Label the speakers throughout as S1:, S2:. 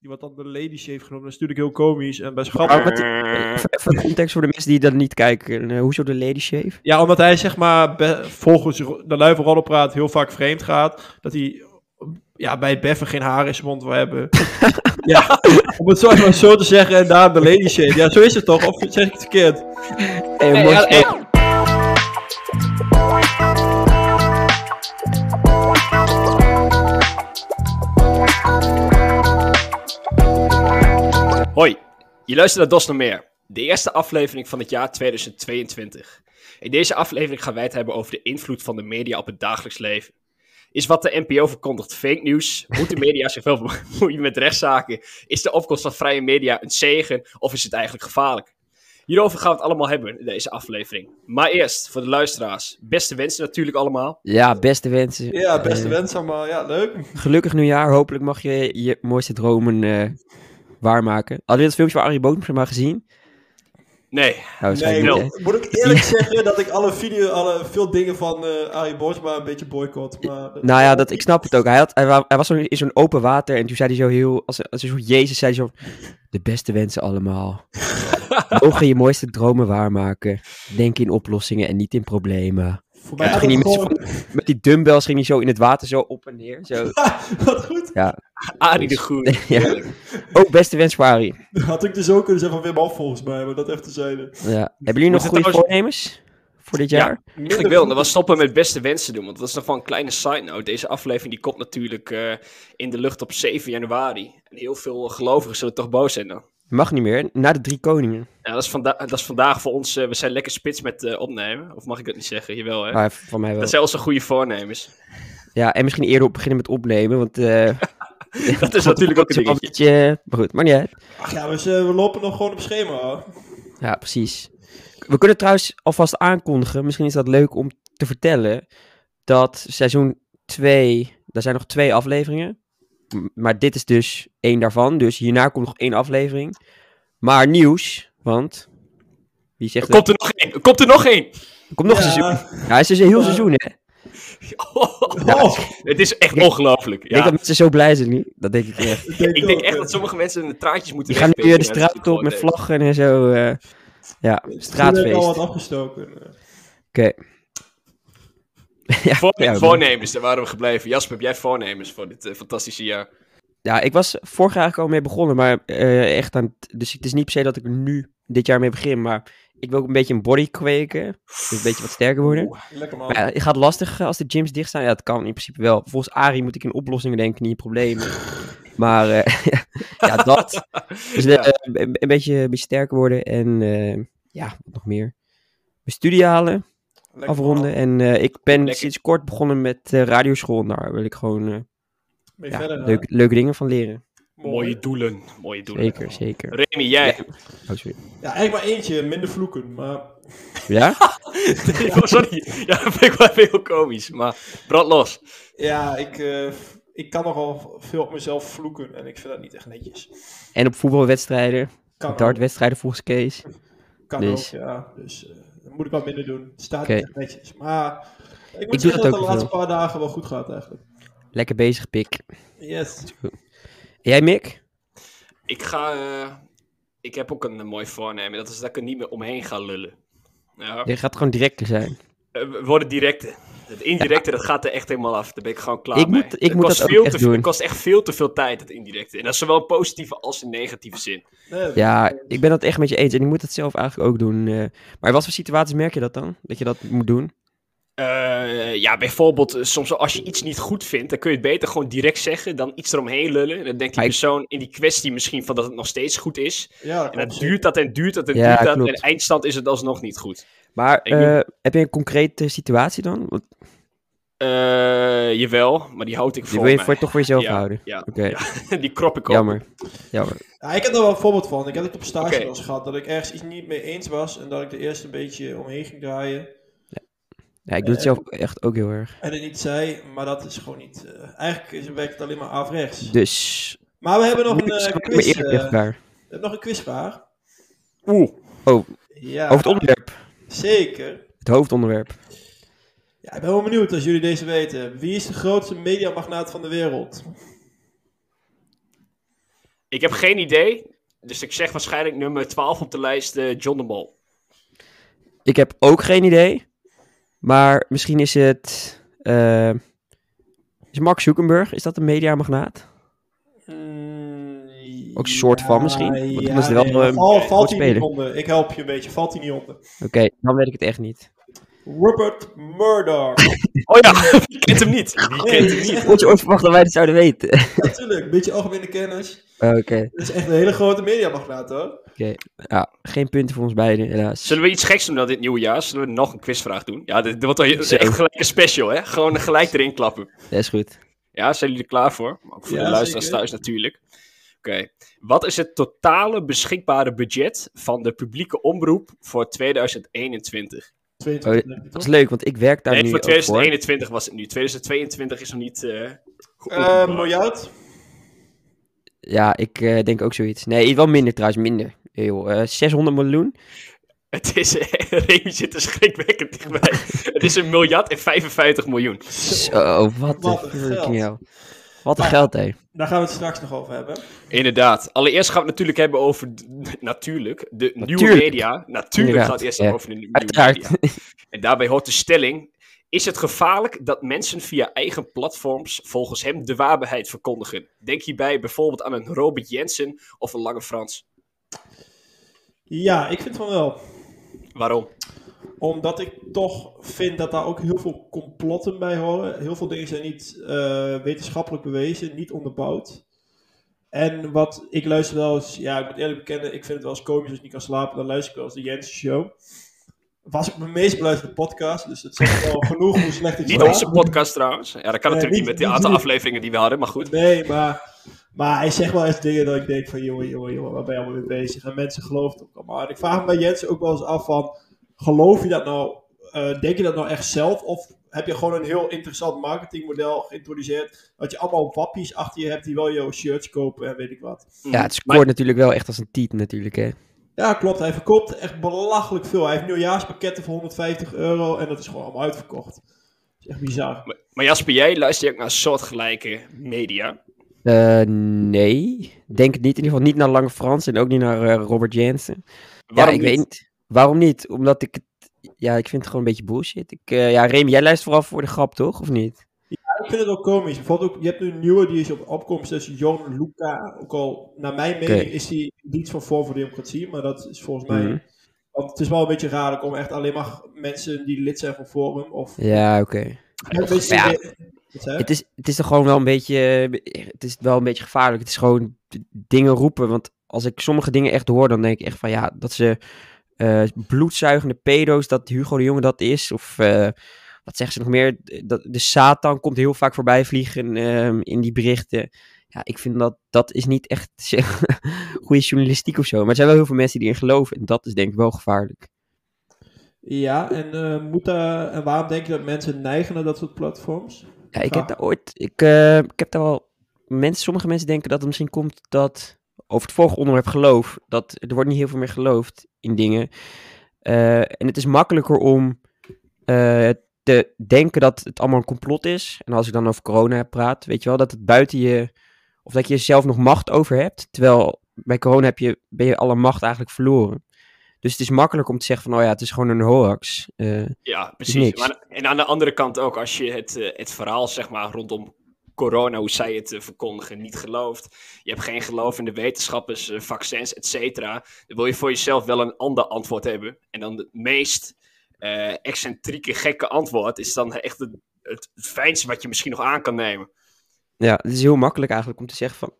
S1: die wat dan de ladies heeft genomen. Dat is natuurlijk heel komisch en best
S2: Maar
S1: grappig.
S2: wat- even, even context voor de mensen die dat niet kijken. Eh, hoezo de lady shave?
S1: Ja, omdat hij zeg maar be- volgens Ro- de lui van Roddelpraat heel vaak vreemd gaat. Dat hij ja, bij het beffen geen haar in zijn mond wil hebben. ja, om het zo, maar zo te zeggen en daar de lady shave. Ja, zo is het toch? Of zeg ik het verkeerd?
S2: Eh,
S3: Nee,
S2: mooi-
S3: ja, eh, Hoi, je luistert naar Dos nog meer, de eerste aflevering van het jaar 2022. In deze aflevering gaan wij het hebben over de invloed van de media op het dagelijks leven. Is wat de NPO verkondigt fake nieuws? Moet de media zich wel bemoeien met rechtszaken? Is de opkomst van vrije media een zegen of is het eigenlijk gevaarlijk? Hierover gaan we het allemaal hebben in deze aflevering. Maar eerst, voor de luisteraars, beste wensen natuurlijk allemaal.
S2: ja, beste wensen.
S1: Ja, beste
S2: Eh,
S1: wens allemaal. Ja, leuk.
S2: Gelukkig nieuwjaar. Hopelijk mag je je mooiste dromen eh, waarmaken. Hadden we dat filmpje van Arie Boomsma maar gezien?
S3: Nee,
S2: Nou, waarschijnlijk
S1: Nee,
S2: niet,
S3: wel.
S2: hè?
S1: moet, moet ik eerlijk zeggen dat ik alle video, alle, veel dingen van eh Arie Borsma een beetje boycott. Maar eh, dat-
S2: Nou ja, dat, ik snap het ook. Hij, had, hij, wa- hij was zo in zo'n open water en toen zei hij zo heel... Als, als een soort Jezus zei hij zo... De beste wensen allemaal. Mogen je mooiste dromen waarmaken. Denk in oplossingen en niet in problemen.
S1: voor mij
S2: ja,
S1: had
S2: ging
S1: het
S2: die
S1: gewoon...
S2: Met die dumbbells ging hij zo in het water zo op en neer. Zo.
S1: Wat goed.
S3: Arie de Groen.
S2: ja. Ook Oh, beste wens voor Arie.
S1: Had ik dus ook kunnen zeggen van Wim Af volgens mij, maar dat even te zijn.
S2: Ja. Hebben jullie nog
S3: het
S2: goede
S3: trouwens-
S2: voornemens voor dit
S3: Ja.
S2: jaar?
S3: Eigenlijk wel, en dat was stoppen met beste wensen doen, want dat is nog wel een kleine side note. Deze aflevering die komt natuurlijk eh, in de lucht op 7 januari. En heel veel gelovigen zullen toch boos zijn dan.
S2: Mag niet meer. Na de drie koningen.
S3: Ja, dat, is vanda- dat is vandaag voor ons, eh, we zijn lekker spits met eh, opnemen. Of mag ik dat niet zeggen? Jawel hè.
S2: Maar Ah, van mij wel.
S3: Eh, Dat zijn onze goede voornemens.
S2: Ja, en misschien eerder op beginnen met opnemen, want... eh,
S3: Dat is natuurlijk ook een
S2: het wel een
S3: dingetje.
S2: beetje... eh, Maar goed, maar niet uit.
S1: Ach ja, we, z- we lopen nog gewoon op schema. hoor.
S2: Ja, precies. We kunnen trouwens alvast aankondigen, misschien is dat leuk om te vertellen, dat seizoen 2, daar zijn nog twee afleveringen. M- Maar dit is dus één daarvan, dus hierna komt nog één aflevering. Maar nieuws, want... Wie zegt
S3: Er
S2: het?
S3: komt er nog één, er komt er nog één!
S2: Er komt nog
S1: Ja.
S2: een seizoen. Ja, het is dus een heel
S1: Ja.
S2: seizoen, hè.
S1: Oh,
S3: het is echt
S2: Ik-
S3: ongelooflijk.
S2: Ik denk
S3: Ja.
S2: dat mensen zo blij zijn nu. Dat denk ik echt.
S1: ik denk,
S3: Ik denk
S1: ook,
S3: echt
S1: eh,
S3: dat sommige mensen hun traantjes moeten
S2: Die gaan nu weer de
S3: wegpinken uit
S2: straat op met
S3: voetbal.
S2: vlaggen en zo. eh, ja,
S1: Ik al
S2: straatfeest.
S1: wat
S2: Oké.
S1: afgestoken. eh.
S2: ja,
S3: Voorne-
S2: ja,
S3: voornemens, daar waren we gebleven. Jasper, heb jij voornemens voor dit eh, fantastische jaar?
S2: Ja, ik was vorig jaar eigenlijk al mee begonnen, maar eh, echt aan... het- Dus het is niet per se dat ik er nu dit jaar mee begin, maar ik wil ook een beetje een body kweken. Dus een beetje wat sterker worden.
S1: Lekker man.
S2: Maar ja, het gaat lastig eh, als de gyms dicht zijn. Ja, dat kan in principe wel. Volgens Arie moet ik in oplossingen denken, niet in problemen. Maar eh, ja, dat. Dus eh,
S3: Ja.
S2: een, een beetje, een beetje sterker worden en eh, ja, wat nog meer. Mijn studie halen.
S1: Lekker
S2: afronden.
S1: man.
S2: En eh, ik ben
S3: Lekker.
S2: sinds kort begonnen met eh, radioschool. En Daar wil ik gewoon eh,
S1: Mee
S2: ja,
S1: verder, eh? hè.
S2: leuk, leuke dingen van leren.
S3: Mooie doelen. Mooie doelen.
S2: Zeker, zeker.
S3: Remy, jij.
S2: Oh, sorry.
S1: Ja, eigenlijk maar eentje, minder vloeken. Maar
S2: Ja?
S3: Oh, Sorry. Ja, dat vind ik wel even heel komisch. Maar brand los.
S1: ja, ik, eh, ik kan nogal veel op mezelf vloeken en ik vind dat niet echt netjes.
S2: En op voetbalwedstrijden.
S1: Kan ook,
S2: Dartwedstrijden volgens Kees.
S1: kan
S2: dus.
S1: ook, ja. Dus eh, dat moet ik wat minder doen. Het staat
S2: Oké.
S1: niet echt netjes. Maar ik moet
S2: doe
S1: zeggen dat,
S2: dat
S1: het de
S2: ook
S1: laatste paar dagen wel goed gaat eigenlijk.
S2: Lekker bezig, pik.
S1: Yes.
S2: En jij, Mick?
S3: Ik ga... eh, ik heb ook een, eh, mooi voornemen. Dat is dat ik er niet meer omheen ga lullen. Ja.
S2: Je gaat gewoon directer zijn.
S3: Eh, We worden directe. Het indirecte, dat gaat er echt helemaal af. Daar ben ik gewoon klaar
S2: Ik
S3: mee.
S2: moet- ik
S3: Het
S2: moet
S3: kost
S2: dat ook
S3: veel
S2: echt
S3: te veel-
S2: doen.
S3: Het kost echt veel te veel tijd, het indirecte. En dat is zowel in positieve als in negatieve zin.
S1: Nee,
S2: Ja, ik ben dat echt met je eens. En ik moet dat zelf eigenlijk ook doen. eh. Maar in wat voor situaties merk je dat dan? Dat je dat moet doen?
S3: Eh, ja, bijvoorbeeld, eh, soms als je iets niet goed vindt, dan kun je het beter gewoon direct zeggen dan iets eromheen lullen. En dan denkt die
S2: Maar ik-
S3: persoon in die kwestie misschien van dat het nog steeds goed is.
S1: ja, dat
S3: En dan
S1: klopt.
S3: duurt dat en duurt dat en
S2: Ja,
S3: duurt dat.
S2: klopt.
S3: En eindstand is het alsnog niet goed.
S2: Maar
S3: Ik doe-
S2: eh, heb je een concrete situatie dan? Want
S3: Eh, jawel, maar die houd ik
S2: die
S3: voor
S2: wil je
S3: mij.
S2: voor, toch voor jezelf
S3: Ja,
S2: houden.
S3: ja.
S2: Oké,
S3: die krop ik op.
S2: jammer. jammer.
S1: Ja, ik heb er wel een voorbeeld van. Ik had het op stage
S3: Oké.
S1: wel eens gehad dat ik ergens iets niet mee eens was en dat ik er eerst een beetje omheen ging draaien
S2: Ja, ik doe het
S1: Eh,
S2: zelf echt ook heel erg.
S1: en het niet zei, maar dat is gewoon niet. eh, eigenlijk is, werkt het alleen maar averechts.
S2: Dus.
S1: Maar we hebben nog een
S2: Moet ik
S1: eh,
S2: zo maar
S1: quiz. eh,
S2: eerlijk tegen
S1: we
S2: elkaar.
S1: hebben nog een quizvraag.
S3: Oeh.
S1: Ja,
S2: Over het onderwerp.
S1: zeker.
S2: Het hoofdonderwerp.
S1: Ja, ik ben wel benieuwd als jullie deze weten. Wie is de grootste mediamagnaat van de wereld?
S3: Ik heb geen idee. Dus ik zeg waarschijnlijk nummer 12 op de lijst eh, John de Mol.
S2: Ik heb ook geen idee. Maar misschien is het. eh, is Mark Zuckerberg, is dat een mediamagnaat? Mm, Ook een soort van misschien, want dan is er wel eh, een
S1: Val- valt hij
S2: woordspeler.
S1: niet onder? Ik help je een beetje. Valt hij niet onder?
S2: Oké, dan weet ik het echt niet.
S1: Rupert Murdoch.
S3: Oh ja, je kent hem niet. Oh. Je kent hem niet.
S2: Vond je ooit verwacht dat wij het zouden weten?
S1: Natuurlijk, een beetje algemene kennis.
S2: Oké,
S1: Dat is echt een hele grote mediamagnaat hoor.
S2: ja, geen punten voor ons beiden, helaas.
S3: Zullen we iets geks doen dan dit nieuwe jaar? Zullen we nog een quizvraag doen? Ja, dit, dit wordt al
S2: Zo.
S3: echt gelijk een special, hè? Gewoon gelijk erin klappen.
S2: Dat is goed.
S3: Ja, zijn jullie er klaar voor? Ook voor
S1: Ja,
S3: de luisteraars
S1: zeker.
S3: thuis natuurlijk. Oké. Wat is het totale beschikbare budget van de publieke omroep voor 2021?
S1: 22
S2: Oh,
S1: denk ik,
S2: Dat
S1: toch?
S3: Eh,
S2: is leuk, want ik werk daar
S3: nee,
S2: nu
S3: voor
S2: ook
S3: 2021 was het nu. 2022 is nog niet. eh
S1: Eh,
S3: geopenbaard.
S1: miljard.
S2: Ja, ik eh, denk ook zoiets. Nee, wel minder trouwens, minder. Eeuw, eh, 600 miljoen?
S3: Het is. Remy zit er schrikwekkend dichtbij. het is een miljard en 55 miljoen.
S2: Zo, wat,
S1: Wat
S2: een
S1: een
S2: freaking
S1: geld.
S2: hell. Wat een
S1: Ah.
S2: geld, hé.
S1: Daar gaan we het straks nog over hebben.
S3: Inderdaad. Allereerst gaan we het natuurlijk hebben over. d- Natuurlijk. De nieuwe
S2: Natuurlijk.
S3: media. Natuurlijk
S2: Inderdaad,
S3: gaat het eerst
S2: ja.
S3: over de nieuwe media.
S2: Uiteraard.
S3: En daarbij hoort de stelling: is het gevaarlijk dat mensen via eigen platforms volgens hem de waarheid verkondigen? Denk hierbij bijvoorbeeld aan een Robert Jensen of een Lange Frans.
S1: Ja, ik vind van wel.
S3: Waarom?
S1: Omdat ik toch vind dat daar ook heel veel complotten bij horen. Heel veel dingen zijn niet eh, wetenschappelijk bewezen, niet onderbouwd. En wat ik luister wel eens, ja, ik moet eerlijk bekennen, ik vind het wel eens komisch als ik niet kan slapen. Dan luister ik wel eens de Jens Show. Was ook mijn meest beluisterde podcast, dus het zegt wel genoeg hoe slecht ik
S3: Niet
S1: slaap.
S3: onze podcast trouwens. Ja, dat kan
S1: Nee,
S3: natuurlijk
S1: Eh, niet-
S3: niet met die
S1: niet-
S3: aantal
S1: niet-
S3: afleveringen die we hadden, maar goed.
S1: Nee, maar, maar hij zegt wel eens dingen dat ik denk van, jongen, jongen, jongen, waar ben je allemaal mee bezig? En mensen geloven het ook allemaal. En ik vraag me bij Jens ook wel eens af van, geloof je dat nou, eh, denk je dat nou echt zelf? Of heb je gewoon een heel interessant marketingmodel geïntroduceerd, dat je allemaal wappies achter je hebt die wel jouw shirts kopen en weet ik wat.
S2: Ja, het scoort natuurlijk wel echt als een tiet natuurlijk, hè.
S1: Ja, klopt. Hij verkoopt echt belachelijk veel. Hij heeft nieuwjaarspakketten voor 150 euro en dat is gewoon allemaal uitverkocht. Dat is echt bizar.
S3: Maar, maar Jasper, jij luistert ook naar soortgelijke media.
S2: Eh, nee, denk het niet. In ieder geval niet naar Lange Frans en ook niet naar eh, Robert Jensen.
S3: Waarom
S2: ja, ik
S3: niet?
S2: weet niet. Waarom niet? Omdat ik het... Ja, ik vind het gewoon een beetje bullshit. Ik, eh, ja, Remy, jij luistert vooral voor de grap, toch? Of niet?
S1: Ik vind het wel komisch. Bijvoorbeeld ook, je hebt nu een nieuwe die is op opkomst, dat is John Luca. Ook al, naar mijn mening,
S2: Oké.
S1: is die niet van Vorm voor Democratie, maar dat is volgens
S2: Mhm.
S1: mij... Want het is wel een beetje raar, er komen echt alleen maar mensen die lid zijn van Forum, of...
S2: Ja, oké.
S1: Ja, een beetje-
S2: ja.
S1: Wat zei je?
S2: Het is, het is toch gewoon wel een beetje... eh, Het is wel een beetje gevaarlijk. Het is gewoon d- dingen roepen. Want als ik sommige dingen echt hoor, dan denk ik echt van... Ja, dat ze eh, bloedzuigende pedo's, dat Hugo de Jonge dat is. Of eh, wat zeggen ze nog meer? Dat, de Satan komt heel vaak voorbij vliegen ehm, in die berichten. Ja, ik vind dat... Dat is niet echt zeg, goede journalistiek of zo. Maar er zijn wel heel veel mensen die erin geloven. En dat is denk ik wel gevaarlijk.
S1: Ja, en, eh, moet daar- en waarom denk je dat mensen neigen naar dat soort platforms?
S2: Ja, ik
S1: Ja.
S2: heb daar ooit. Ik, eh, ik heb daar wel. Mensen, sommige mensen denken dat het misschien komt dat. Over het vorige onderwerp geloof. Dat er wordt niet heel veel meer geloofd in dingen. Eh, en het is makkelijker om eh, te denken dat het allemaal een complot is. En als ik dan over corona praat, weet je wel, dat het buiten je. Of dat je er zelf nog macht over hebt. Terwijl bij corona heb je, ben je alle macht eigenlijk verloren. Dus het is makkelijk om te zeggen van, oh ja, het is gewoon een hoax. Eh,
S3: Ja, precies.
S2: niks.
S3: Maar, en aan de andere kant ook, als je het, eh, het verhaal zeg maar, rondom corona, hoe zij het eh, verkondigen, niet gelooft. Je hebt geen geloof in de wetenschappers, eh, vaccins, et cetera. Dan wil je voor jezelf wel een ander antwoord hebben. En dan het meest eh, excentrieke, gekke antwoord is dan echt het, het, het fijnste wat je misschien nog aan kan nemen.
S2: Ja, het is heel makkelijk eigenlijk om te zeggen van,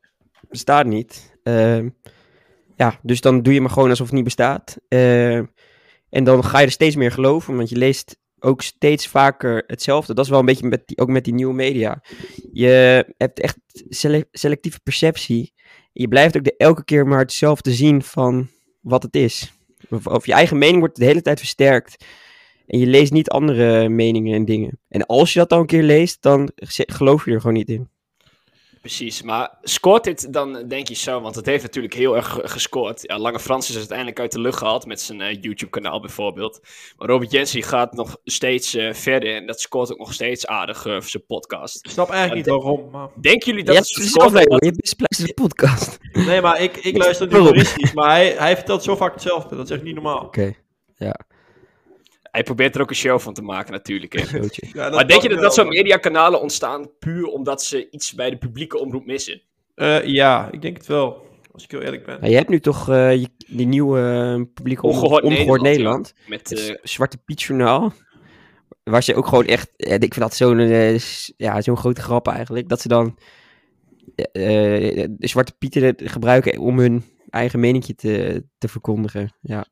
S2: bestaat niet. Ehm, ja, dus dan doe je maar gewoon alsof het niet bestaat. Ehm, en dan ga je er steeds meer geloven, want je leest ook steeds vaker hetzelfde. Dat is wel een beetje met die, ook met die nieuwe media. Je hebt echt sele- selectieve perceptie. Je blijft ook de, elke keer maar hetzelfde zien van wat het is. Of, of je eigen mening wordt de hele tijd versterkt. En je leest niet andere meningen en dingen. En als je dat dan een keer leest, dan ge- geloof je er gewoon niet in.
S3: Precies, maar scoort dit dan denk je zo, want het heeft natuurlijk heel erg ge- gescoord. Ja, Lange Frans is uiteindelijk uit de lucht gehaald met zijn eh, YouTube-kanaal bijvoorbeeld. Maar Robert Jensen gaat nog steeds eh, verder en dat scoort ook nog steeds aardig eh, voor zijn podcast.
S1: Ik snap eigenlijk niet waarom, maar...
S3: Denken jullie
S2: Je
S3: dat
S2: hebt
S3: het
S2: het
S3: scoort?
S2: zelf leuk, hoor. Oh, Je bespluistert de podcast. Oké.
S1: Nee, maar ik, ik luister nu
S2: Waarom?
S1: toeristisch, maar hij, hij vertelt zo vaak hetzelfde. Dat is echt niet normaal.
S3: Hij probeert er ook een show van te maken natuurlijk. Hè.
S2: zootje.
S1: Ja,
S3: maar denk je dat
S1: wel.
S3: dat soort mediakanalen ontstaan puur omdat ze iets bij de publieke omroep missen?
S1: Eh, ja, ik denk het wel. Als ik heel eerlijk ben.
S2: Nou, je hebt nu toch eh, je- die nieuwe eh, publieke omroep
S3: Ongehoord
S2: Ongehoord,
S3: Nederland, ja.
S2: Nederland.
S3: Met,
S2: Het
S3: eh,
S2: Zwarte Piet Journaal. Waar ze ook gewoon echt... eh, ik vind dat zo'n eh, s- ja, zo'n grote grap eigenlijk. Dat ze dan eh, eh, de Zwarte Pieten gebruiken om hun eigen meningje te, te verkondigen. Ja.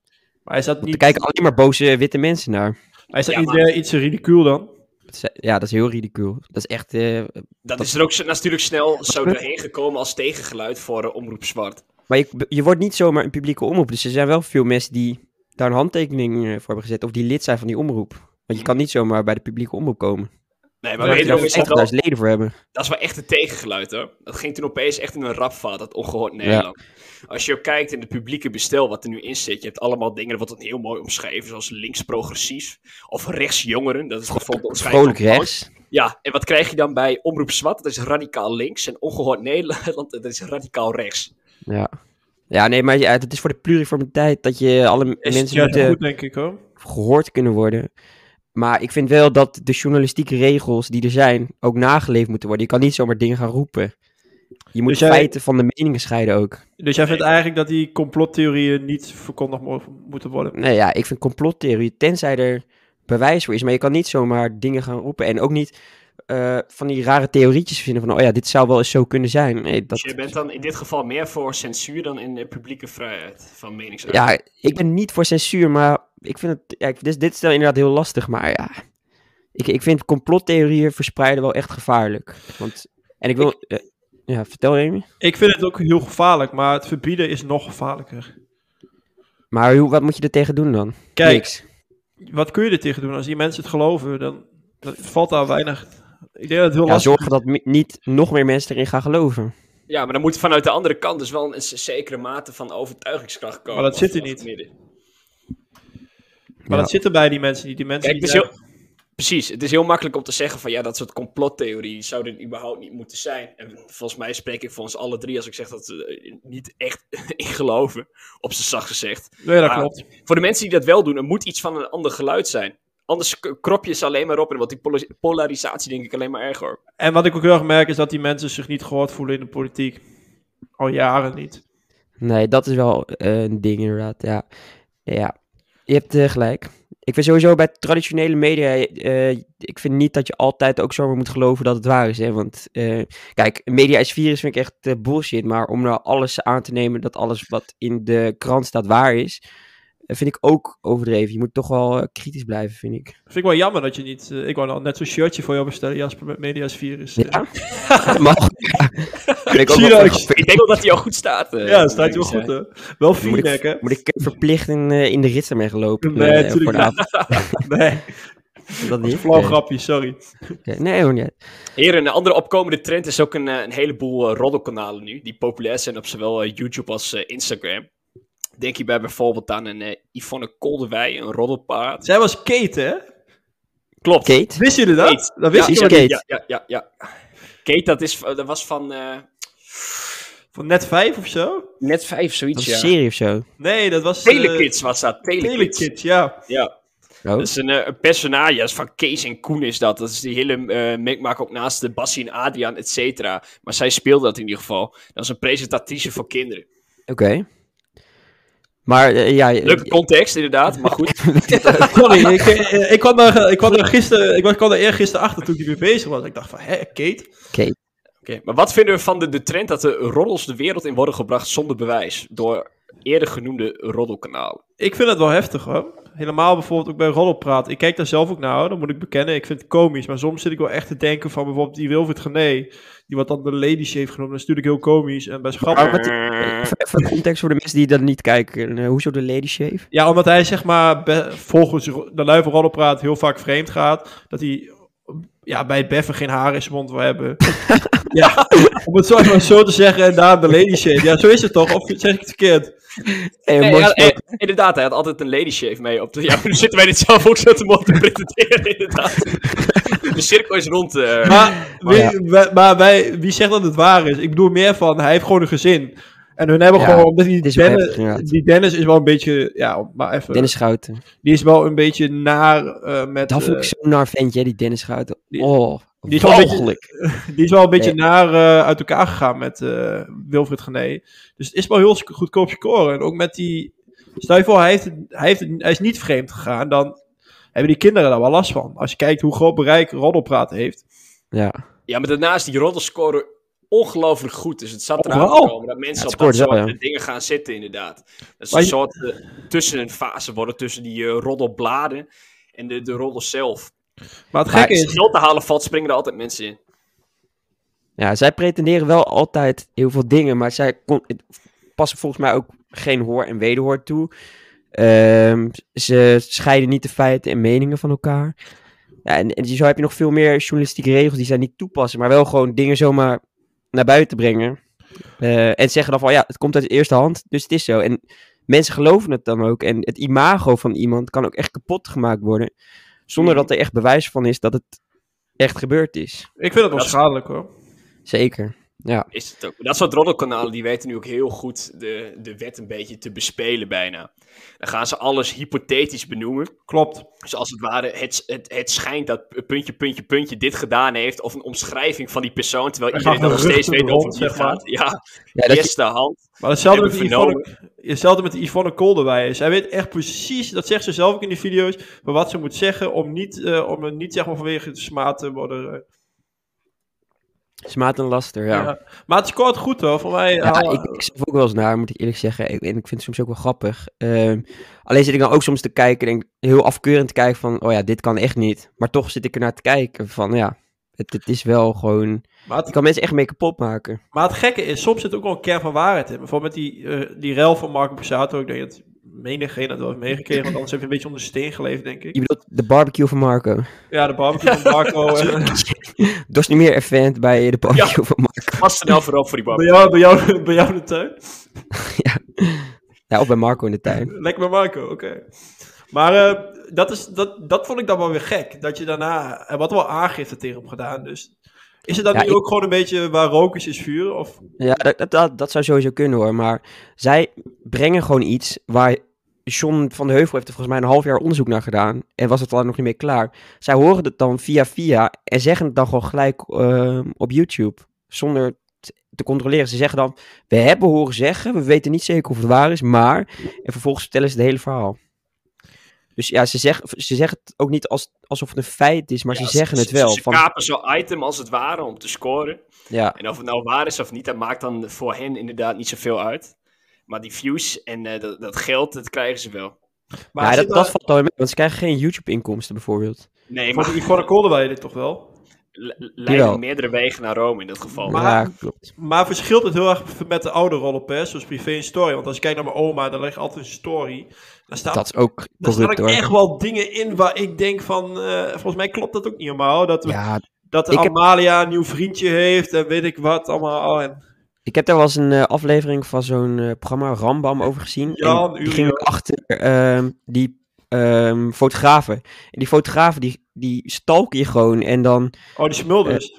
S1: Maar hij zat
S2: Er
S1: niet,
S2: kijken alleen maar boze witte mensen naar.
S1: hij zat
S3: Ja,
S1: niet
S3: maar-
S1: eh, iets ridicuul dan.
S2: Dat is- Ja, dat is heel ridicuul. Dat is echt... eh,
S3: dat
S2: dat-
S3: is er ook s- natuurlijk snel zo
S2: we-
S3: doorheen gekomen als tegengeluid voor eh, Omroep Zwart.
S2: maar je, je wordt niet zomaar een publieke omroep. Dus er zijn wel veel mensen die daar een handtekening eh, voor hebben gezet. Of die lid zijn van die omroep. Want je kan niet zomaar bij de publieke omroep komen.
S3: Nee, maar
S1: Ja,
S2: Daar moet je
S3: wederom
S2: daar
S3: is het wel
S2: 50.000 leden voor hebben.
S3: Dat is wel echt een tegengeluid hoor. Dat ging toen opeens echt in een rapvaat, dat ongehoord Nederland. Als je ook kijkt in het publieke bestel wat er nu in zit, je hebt allemaal dingen, dat wordt dan heel mooi omschreven, zoals links-progressief of rechts-jongeren. Dat is bijvoorbeeld omschrijven
S2: Vrolijk
S3: van-
S2: rechts.
S3: Ja, en wat krijg je dan bij Omroep Zwart? Dat is radicaal links. En ongehoord Nederland, dat is radicaal rechts.
S2: Ja. Ja, nee, maar ja, het is voor de pluriformiteit dat je alle m-
S1: Is het
S2: mensen
S1: juist
S2: moeten
S1: goed, denk ik hoor.
S2: gehoord kunnen worden. Maar ik vind wel dat de journalistieke regels die er zijn ook nageleefd moeten worden. Je kan niet zomaar dingen gaan roepen. Je moet
S1: Dus jij-
S2: feiten van de meningen scheiden ook.
S1: Dus jij vindt eigenlijk dat die complottheorieën niet verkondigd mo- moeten worden?
S2: Nee, ja, ik vind complottheorie, tenzij er bewijs voor is. Maar je kan niet zomaar dingen gaan roepen. En ook niet eh, van die rare theorietjes verzinnen van, oh ja, dit zou wel eens zo kunnen zijn. Nee,
S3: Dus
S2: dat,
S3: je bent dan in dit geval meer voor censuur dan in de publieke vrijheid van meningsuiting.
S2: ja, ik ben niet voor censuur, maar ik vind het, ja, ik, dus dit, dit is wel inderdaad heel lastig. Maar ja, ik, ik vind complottheorieën verspreiden wel echt gevaarlijk. Want, en ik wil, eh, ja, vertel Remy.
S1: Ik vind het ook heel gevaarlijk, maar het verbieden is nog gevaarlijker.
S2: Maar hoe, wat moet je er tegen doen dan?
S1: Kijk,
S2: Niks.
S1: wat kun je er tegen doen? Als die mensen het geloven, dan, dan valt daar weinig... Ik denk dat het heel
S2: Ja,
S1: lastig
S2: zorgen dat mi- niet nog meer mensen erin gaan geloven.
S3: Ja, maar dan moet vanuit de andere kant dus wel een z- zekere mate van overtuigingskracht komen.
S1: Maar dat zit er
S3: Of- of
S1: niet.
S3: midden.
S1: is. Maar
S2: Ja.
S1: dat zit er bij die mensen niet. Die mensen
S3: Kijk,
S1: die
S3: het is
S1: zeggen-
S3: heel, precies, het is heel makkelijk om te zeggen van ja, dat soort complottheorieën zouden überhaupt niet moeten zijn. En volgens mij spreek ik voor ons alle drie als ik zeg dat ze er niet echt in geloven, op zijn zacht gezegd.
S1: Nee, dat
S3: Ja.
S1: klopt.
S3: Voor de mensen die dat wel doen, er moet iets van een ander geluid zijn. Anders k- krop je ze alleen maar op en wordt die polo- polarisatie denk ik alleen maar erger. hoor.
S1: En wat ik ook heel erg merk, is dat die mensen zich niet gehoord voelen in de politiek. Al jaren niet.
S2: Nee, dat is wel eh, een ding inderdaad, ja. Ja, je hebt eh, gelijk. Ik vind sowieso bij traditionele media, eh, ik vind niet dat je altijd ook zomaar moet geloven dat het waar is. Hè? Want eh, kijk, media is virus vind ik echt eh, bullshit. Maar om nou alles aan te nemen dat alles wat in de krant staat waar is, eh, vind ik ook overdreven. Je moet toch wel eh, kritisch blijven, vind ik.
S1: Vind ik wel jammer dat je niet... eh, ik wou nou net zo'n shirtje voor jou bestellen, Jasper, met Media's Virus.
S2: Ja, dat mag. Vind ik ook
S1: Zie
S2: wel
S1: je nou,
S2: grappig.
S1: ik-
S3: Ik denk wel dat die al goed staat. eh,
S1: Ja, dat staat
S3: moet
S1: heel
S3: ik
S1: goed,
S3: zeggen.
S1: hè. Wel
S2: Moet
S1: feedback, hè.
S2: ik, moet ik verplicht in, eh, in de ritsen mee gelopen?
S1: Nee,
S2: eh,
S1: natuurlijk
S2: voor de
S1: niet.
S2: avond?
S1: Nee,
S2: Dat niet?
S1: flauw
S2: Nee.
S1: grapje, sorry.
S2: Oké, Nee, hoor niet.
S1: eh.
S3: Heren, een andere opkomende trend is ook een, eh, een heleboel eh, roddelkanalen nu, die populair zijn op zowel eh, YouTube als eh, Instagram. Denk hierbij bijvoorbeeld aan een eh, Yvonne Koldewij, een roddelpaard.
S1: Zij was Kate, hè?
S3: Klopt.
S2: Kate?
S1: Wist jullie dat?
S3: Kate.
S1: Dat wist
S2: Ja,
S1: ik
S2: is
S1: wel
S2: Kate.
S1: niet.
S3: Ja, ja, ja, ja. Kate, dat, is, dat was van eh,
S1: Van net vijf of zo?
S3: net vijf,
S2: Dat
S3: zoiets,
S2: is een
S3: ja.
S2: serie of zo.
S1: Nee, dat was... eh,
S3: Telekids was dat, Telekids.
S1: Telekids, ja.
S3: Ja,
S2: Oh.
S3: dat is een, eh, een personage, dat is van Kees en Koen is dat. Dat is die hele eh mikmak ook naast de Bassie en Adriaan, et cetera. Maar zij speelde dat in ieder geval. Dat is een presentatrice voor kinderen.
S2: Oké. Maar eh, ja, eh,
S3: Leuke context, inderdaad, maar goed.
S1: Sorry, ik, eh, ik kwam daar, ik kwam daar gisteren... Ik was- kwam daar eergisteren achter toen ik weer bezig was. Ik dacht van, hè, Kate?
S2: Kate.
S3: Oké, maar wat vinden we van de, de trend dat de roddels de wereld in worden gebracht zonder bewijs? Door eerder genoemde roddelkanalen.
S1: Ik vind het wel heftig hoor. Helemaal bijvoorbeeld ook bij roddelpraat. Ik kijk daar zelf ook naar, hoor, dat moet ik bekennen. Ik vind het komisch, maar soms zit ik wel echt te denken van bijvoorbeeld die Wilfried Gené, die wat dan de lady heeft genoemd. Dat is natuurlijk heel komisch en best grappig.
S2: Maar wat- Even even context voor de mensen die dat niet kijken. Eh, hoezo de Lady Shave?
S1: Ja, omdat hij zeg maar be- volgens ro- de lui van roddelpraat heel vaak vreemd gaat. Dat hij ja, bij Beffen geen haar in zijn mond wil hebben. ja, om het zo, maar zo te zeggen en daar de lady shave. Ja, zo is het toch? Of zeg ik het verkeerd?
S2: Hey,
S3: Nee,
S2: mooi
S3: ja,
S2: gesproken.
S3: eh, inderdaad, hij had altijd een lady shave mee. Op de, ja, nu zitten wij dit zelf ook zo te mooi te presenteren, inderdaad. De cirkel is rond. eh.
S1: Maar, wie,
S2: Oh, ja.
S1: wij- maar wij, wie zegt dat het waar is? Ik bedoel meer van, hij heeft gewoon een gezin. En hun hebben
S2: Ja,
S1: gewoon, omdat die
S2: het is
S1: Dennis,
S2: heftig, inderdaad.
S1: die Dennis is wel een beetje, ja, maar even,
S2: Dennis Schouten.
S1: die is wel een beetje naar eh, met,
S2: Dat vond
S1: eh,
S2: ik zo'n nar ventje, hè, die Dennis Schouten.
S1: die-
S2: oh,
S1: die is wel een beetje-
S2: walgelijk.
S1: die is wel een beetje naar eh, uit elkaar gegaan met eh, Wilfried Gené. Dus het is wel heel sc- goedkoop scoren. En ook met die, stel je voor, hij, heeft het, hij, heeft het, hij is niet vreemd gegaan, dan hebben die kinderen daar wel last van. Als je kijkt hoe groot bereik roddelpraat heeft.
S2: Ja,
S3: Ja, maar daarna is die roddelscore ongelooflijk goed. Dus het zat eraan
S1: Overal.
S3: te komen dat
S2: Ja,
S3: mensen
S2: het
S3: op dat
S2: scoort
S3: soort
S2: wel, ja.
S3: dingen gaan zitten, inderdaad. Dat ze
S1: Maar
S3: een
S1: je-
S3: soort eh, tussen een fase worden, tussen die eh, roddelbladen en de, de roddel zelf.
S1: Maar het
S2: Maar
S1: gekke
S3: Als
S1: is,
S3: het geld te halen valt, springen er altijd mensen in.
S2: Ja, zij pretenderen wel altijd heel veel dingen, maar zij kon, het- passen volgens mij ook geen hoor en wederhoor toe. Ehm, ze scheiden niet de feiten en meningen van elkaar. Ja, en, en zo heb je nog veel meer journalistieke regels die zij niet toepassen, maar wel gewoon dingen zomaar naar buiten brengen. Eh, en zeggen dan van ja, het komt uit de eerste hand, dus het is zo. En mensen geloven het dan ook. En het imago van iemand kan ook echt kapot gemaakt worden, zonder
S3: Mhm.
S2: dat er echt bewijs van is dat het echt gebeurd is.
S1: ik vind het wel
S3: Dat is-
S1: schadelijk hoor.
S2: Zeker.
S3: Is het ook. Dat soort roddelkanalen die weten nu ook heel goed de, de wet een beetje te bespelen bijna. Dan gaan ze alles hypothetisch benoemen.
S1: Klopt.
S3: Dus als het ware, het, het, het schijnt dat puntje, puntje, puntje dit gedaan heeft. Of een omschrijving van die persoon. Terwijl
S1: Hij
S3: iedereen
S1: gaat
S3: dan nog
S1: de
S3: steeds
S1: rug
S3: weet over
S1: rond,
S3: wie het
S1: zeg maar.
S3: gaat. Ja,
S2: Ja, dat je-
S3: eerste hand.
S1: Maar hetzelfde met,
S3: Hebben we
S1: Yvonne, hetzelfde met Yvonne Kolderwijs. Hij weet echt precies, dat zegt ze zelf ook in die video's, maar wat ze moet zeggen om niet, eh, om er niet zeg maar, vanwege de smaad te worden. eh.
S2: Smaad en laster, ja. Ja,
S1: Ja. Maar het scoort goed hoor, voor mij. ah,
S2: ik, ik zelf ook wel eens naar, moet ik eerlijk zeggen. Ik, en ik vind het soms ook wel grappig. Ehm, alleen zit ik dan ook soms te kijken, en denk, heel afkeurend te kijken van, oh ja, dit kan echt niet. Maar toch zit ik ernaar te kijken van, ja, het, het is wel gewoon...
S1: maar,
S2: Je
S1: het,
S2: kan mensen echt mee kapot maken.
S1: maar het gekke is, soms zit ook wel een kern van waarheid in. Bijvoorbeeld met die, eh, die rel van Marco Pesato. Ik denk dat menigeen dat wel heeft meegekregen, want anders heeft hij een beetje onder de steen geleefd, denk
S2: Je
S1: ik.
S2: bedoelt de barbecue van Marco.
S1: Ja, de barbecue van Marco. eh, en-
S2: Dat is niet meer event bij de barbecue van Marco.
S3: Pas snel voorop voor die
S1: bij,
S3: barbecue.
S1: jou, bij, jou, bij jou in de tuin.
S2: Ja, of bij Marco in de tuin.
S1: Lekker bij Marco, oké. Maar eh, dat, is, dat, dat vond ik dan wel weer gek. Dat je daarna, er wat wel aangifte tegen hem gedaan. Dus is het dan
S2: Ja,
S1: nu
S2: ik-
S1: ook gewoon een beetje waar rook is, is vuur? Of,
S2: Ja, dat, dat- dat, dat zou sowieso kunnen hoor. Maar zij brengen gewoon iets waar John van de Heuvel heeft er volgens mij een half jaar onderzoek naar gedaan. En was het al nog niet meer klaar. Zij horen het dan via via en zeggen het dan gewoon gelijk ehm, op YouTube. Zonder t- te controleren. Ze zeggen dan, we hebben horen zeggen, we weten niet zeker of het waar is, maar... En vervolgens vertellen ze het hele verhaal. Dus ja, ze, zeg, ze zeggen het ook niet als, alsof het een feit is, maar
S3: Ja,
S2: ze zeggen het
S3: Ze,
S2: wel.
S3: ze
S2: Van,
S3: kapen zo'n item als het ware om te scoren.
S2: ja,
S3: En of het nou waar is of niet, dat maakt dan voor hen inderdaad niet zoveel uit. Maar die views en eh, dat, dat geld, dat krijgen ze wel.
S1: maar
S2: ja,
S1: zit
S2: dat,
S1: daar-
S2: dat valt dan mee, want ze krijgen geen YouTube-inkomsten bijvoorbeeld.
S3: Nee, maar
S1: Vond ik Yvonne Kolderwij dit toch wel?
S3: le-
S2: Jawel.
S3: leiden meerdere wegen naar Rome in dat geval.
S1: Maar-
S2: ja, klopt.
S1: Maar verschilt het heel erg met de oude rollenpers, zoals privé en story. Want als je kijkt naar mijn oma, dan leg ik altijd een story. Daar staat,
S2: Dat is ook
S1: daar
S2: corrupt
S1: staan ook
S2: hoor.
S1: echt wel dingen in waar ik denk van... eh, volgens mij klopt dat ook niet helemaal. Dat, we-
S2: Ja,
S1: dat
S2: ik heb-
S1: Amalia een nieuw vriendje heeft en weet ik wat allemaal. Oh, En
S2: ik heb daar wel eens een eh, aflevering van zo'n eh, programma Rambam over gezien.
S1: Jan,
S2: en die
S1: Uriah.
S2: ging ook achter ehm, die ehm, fotografen. En die fotografen die, die stalken je gewoon. En dan,
S1: Oh, die
S2: Eh,
S1: smulders.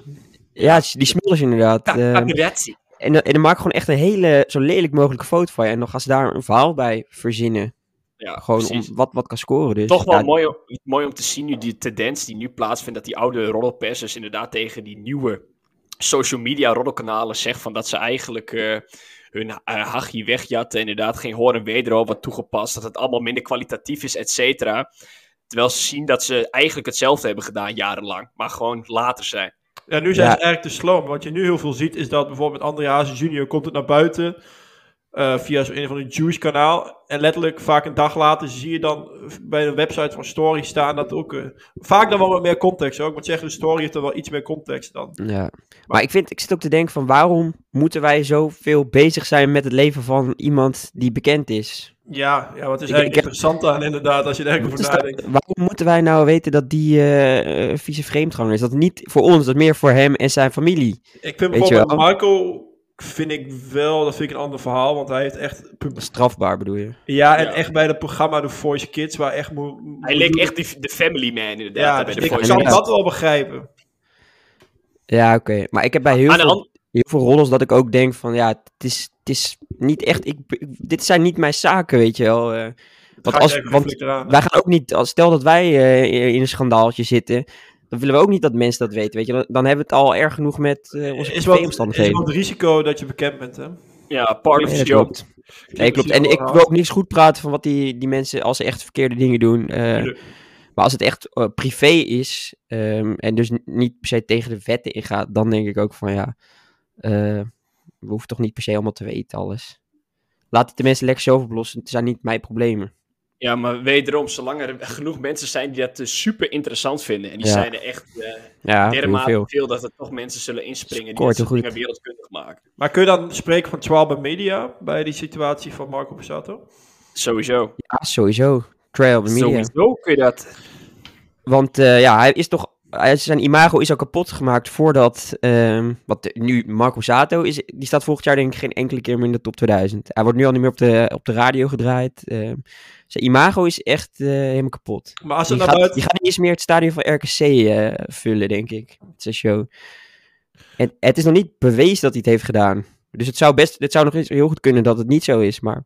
S2: ja, die smullen ze inderdaad. ehm,
S3: Paparazzi.
S2: en, dan- en dan maken gewoon echt een hele, zo lelijk mogelijke foto van je. En dan gaan ze daar een verhaal bij verzinnen.
S3: Ja,
S2: Gewoon
S3: precies.
S2: om wat, wat kan scoren. Dus
S3: Toch wel
S2: ja,
S3: mooi, om, mooi om te zien nu die tendens die nu plaatsvindt. Dat die oude roddelpers dus inderdaad tegen die nieuwe social media roddelkanalen zegt. Van dat ze eigenlijk eh, hun eh hachie wegjatten. Inderdaad geen hoor en wederhoor wat toegepast. Dat het allemaal minder kwalitatief is, et cetera. Terwijl ze zien dat ze eigenlijk hetzelfde hebben gedaan jarenlang. Maar gewoon later zijn.
S1: Ja, nu zijn
S2: Ja.
S1: ze eigenlijk te sloom. Wat je nu heel veel ziet, is dat bijvoorbeeld André Hazes junior komt het naar buiten eh, via zo'n een van de Juice kanaal. En letterlijk vaak een dag later zie je dan eh, bij de website van Story staan dat ook... eh, vaak dan wel wat meer context hoor. Ik moet zeggen, Story heeft er wel iets meer context dan.
S2: Ja, maar ik, vind, ik zit ook te denken van waarom moeten wij zoveel bezig zijn met het leven van iemand die bekend is?
S1: Ja, ja wat is
S2: Ik-
S1: eigenlijk
S2: ik heb-
S1: interessant aan inderdaad, als je er eigenlijk
S2: Wat is
S1: over
S2: dat-
S1: nadenkt.
S2: waarom moeten wij nou weten dat die eh, eh, vieze vreemdganger is? Dat is niet voor ons, dat is meer voor hem en zijn familie.
S1: Ik vind
S2: Weet je
S1: bijvoorbeeld
S2: wel?
S1: Marco, vind ik wel, dat vind ik een ander verhaal, want hij heeft echt... pub-
S2: Strafbaar bedoel je?
S1: Ja, en
S3: Ja.
S1: echt bij dat programma The Voice Kids, waar echt... mo- mo-
S3: Hij leek echt die- de family man inderdaad.
S1: Ja,
S3: Ja,
S1: dus
S3: bij de
S1: ik
S2: Voice
S1: kan
S2: Kids.
S1: dat wel begrijpen.
S2: Ja, oké. Maar ik heb bij heel
S3: Aan de
S2: veel,
S3: hand-
S2: heel veel rollers dat ik ook denk van, ja, het is, het is niet echt, ik, ik- dit zijn niet mijn zaken, weet je wel. eh.
S1: Dat
S2: want
S1: ga ik
S2: als,
S1: even
S2: want
S1: flink eraan.
S2: wij gaan ook niet, als, stel dat wij eh, in een schandaaltje zitten, dan willen we ook niet dat mensen dat weten, weet je. Dan, dan hebben we het al erg genoeg met eh,
S1: Is
S2: onze
S1: wel, is
S2: privéomstandigheden.
S1: wel het risico dat je bekend bent, hè?
S3: ja Parley
S2: Nee,
S3: of
S2: dat
S3: Joe.
S2: klopt. Nee, klopt. En ik wil ook niks goed praten van wat die, die mensen als ze echt verkeerde dingen doen. eh,
S1: Tuurlijk.
S2: maar als het echt eh, privé is ehm, en dus n- niet per se tegen de wetten ingaat, dan denk ik ook van ja, eh, we hoeven toch niet per se allemaal te weten alles. Laat het de mensen lekker zelf oplossen. Het zijn niet mijn problemen.
S3: Ja, maar wederom, zolang er genoeg mensen zijn die dat eh, super interessant vinden. En die
S2: Ja.
S3: zijn er echt eh,
S2: Ja,
S3: dermate veel.
S2: hoeveel.
S3: dat er toch mensen zullen inspringen die
S2: Scoort
S3: dat soort
S2: heel goed.
S3: dingen wereldkundig maken.
S1: Maar kun je dan spreken van 12 bij media, bij die situatie van Marco Passato?
S3: Sowieso.
S2: Ja, sowieso. Trial the media.
S3: Sowieso kun je dat.
S2: Want eh, ja, hij is toch. hij- Zijn imago is al kapot gemaakt voordat. ehm, wat de- nu Marco Zato is. Die staat volgend jaar, denk ik, geen enkele keer meer in de top 2000. Hij wordt nu al niet meer op de, op de radio gedraaid. ehm. zijn imago is echt eh, helemaal kapot.
S1: Maar als
S2: Die
S1: het
S2: gaat,
S1: naar buiten...
S2: die gaat niet eens meer het stadion van RKC eh, vullen, denk ik. Het is een show. En het is nog niet bewezen dat hij het heeft gedaan. Dus het zou, best, het zou nog eens heel goed kunnen dat het niet zo is. Maar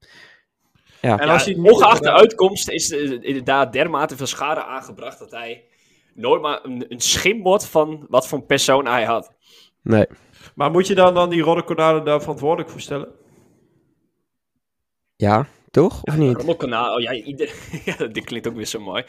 S1: En
S3: Ja,
S1: als hij niet-
S3: ongeacht de uitkomst is er inderdaad dermate veel schade aangebracht dat hij nooit maar een, een schim wordt van wat voor een persoon hij had.
S2: nee.
S1: Maar moet je dan, dan die Rodde Cornade daar verantwoordelijk voor stellen?
S2: Ja, toch? Of niet?
S3: Roddelkanaal, oh ja, ieder, ja, dit klinkt ook weer zo mooi.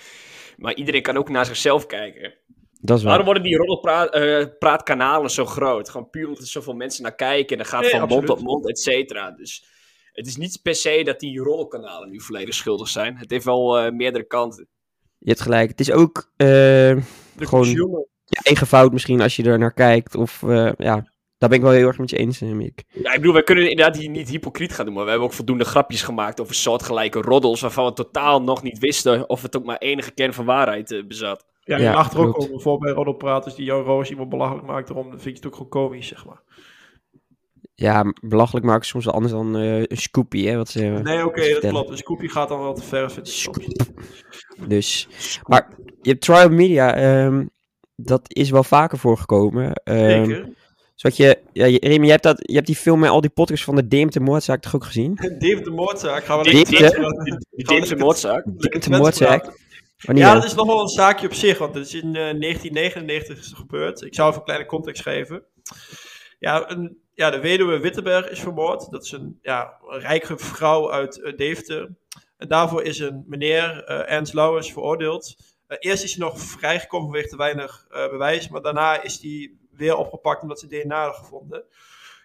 S3: Maar iedereen kan ook naar zichzelf kijken.
S2: Dat is waar.
S3: Waarom worden die roddelpraatkanalen zo groot? Gewoon puur omdat er zoveel mensen naar kijken. En dat gaat
S1: Nee,
S3: van mond
S1: absoluut.
S3: tot mond, et cetera. Dus het is niet per se dat die roddelkanalen nu volledig schuldig zijn. Het heeft wel eh, meerdere kanten.
S2: Je hebt gelijk. Het is ook eh,
S1: De
S2: Gewoon-
S1: consumer.
S2: je eigen fout misschien als je er naar kijkt. Of eh, ja, daar ben ik wel heel erg met je eens, eh, Mick.
S3: Ja, ik bedoel, wij kunnen inderdaad hier niet hypocriet gaan doen. Maar we hebben ook voldoende grapjes gemaakt over soortgelijke roddels. waarvan we totaal nog niet wisten of het ook maar enige kern van waarheid eh, bezat.
S1: Ja,
S2: Ja,
S1: je lacht er ook
S2: klopt.
S1: over voor bij roddelpraters die Jan Roos iemand belachelijk maakt erom. Dan vind je het ook gewoon komisch, zeg maar.
S2: Ja, belachelijk maken is soms wel anders dan eh, een scoopie, hè, wat ze
S1: Nee, oké,
S2: ze
S1: dat
S2: vertellen.
S1: klopt. Een scoopie gaat dan wel te ver. Vind ik.
S2: Scoop.
S1: soms.
S2: Dus, maar je hebt trial media, ehm, dat is wel vaker voorgekomen. ehm,
S1: Zeker.
S2: zodat je, ja, je, Remy, je hebt, dat, je hebt die film en al die podcasts van de Deemte Moordzaak toch ook gezien?
S1: Dave de Moordzaak. Gaan we
S2: Dave
S1: lekker
S2: de-
S1: kletsen.
S3: Die
S1: Gaan we
S3: Dimse
S1: lekker-
S3: moordzaak.
S1: lekker
S2: Dave de
S1: kletsen
S2: Moordzaak.
S1: praten.
S2: Wanneer?
S1: Ja, dat is nog wel een zaakje op zich, want het is in eh, 1999 is het gebeurd. Ik zou even een kleine context geven. Ja, een, ja, de weduwe Wittenberg is vermoord. Dat is een, ja, een rijke vrouw uit eh, Deventer. En daarvoor is een meneer, eh, Ernst Lauwers, veroordeeld. Eh, eerst is hij nog vrijgekomen vanwege te weinig eh, bewijs, maar daarna is hij weer opgepakt omdat ze DNA hadden gevonden.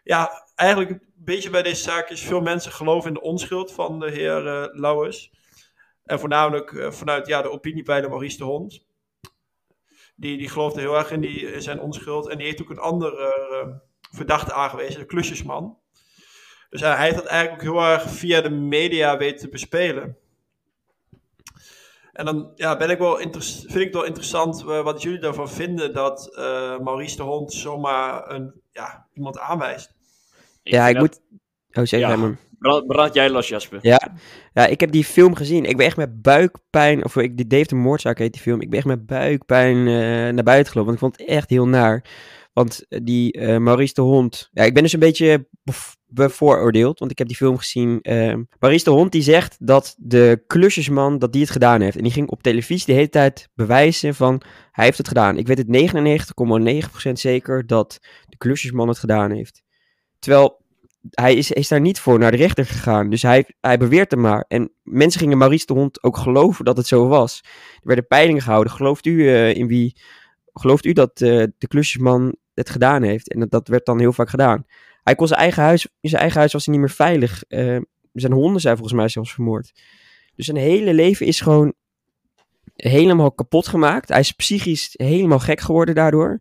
S1: Ja, eigenlijk een beetje bij deze zaak is veel mensen geloven in de onschuld van de heer eh, Lauwers. En voornamelijk eh, vanuit ja, de opiniepeiler Maurice de Hond. Die, die geloofde heel erg in, die, in zijn onschuld. En die heeft ook een andere eh, verdachte aangewezen, de klusjesman. Dus eh, hij heeft dat eigenlijk ook heel erg via de media weten te bespelen. En dan ja, ben ik wel interes- vind ik het wel interessant eh, wat jullie daarvan vinden dat eh, Maurice de Hond zomaar een, ja, iemand aanwijst.
S2: ja, ik
S3: vind
S2: moet... Oh, zeg
S3: Ja.
S2: jij maar.
S3: dat- Brand, brand jij los, Jasper.
S2: Ja. ja, ik heb die film gezien. Ik ben echt met buikpijn. Of ik, die Dave de Moordzaak heet die film. Ik ben echt met buikpijn eh, naar buiten gelopen. Want ik vond het echt heel naar. Want eh, die eh, Maurice de Hond. Ja, ik ben dus een beetje bev- bevooroordeeld. Want ik heb die film gezien. ehm Maurice de Hond die zegt dat de klusjesman. dat die het gedaan heeft. En die ging op televisie de hele tijd bewijzen van. hij heeft het gedaan. Ik weet het 99,9% zeker dat de klusjesman het gedaan heeft. Terwijl hij is, is daar niet voor naar de rechter gegaan. Dus hij, hij beweert hem maar. En mensen gingen Maurice de Hond ook geloven dat het zo was. Er werden peilingen gehouden. Gelooft u eh, in wie? Gelooft u dat eh, de klusjesman het gedaan heeft? En dat, dat werd dan heel vaak gedaan. Hij kon zijn eigen huis, in zijn eigen huis was hij niet meer veilig. Eh, zijn honden zijn volgens mij zelfs vermoord. Dus zijn hele leven is gewoon helemaal kapot gemaakt. Hij is psychisch helemaal gek geworden daardoor.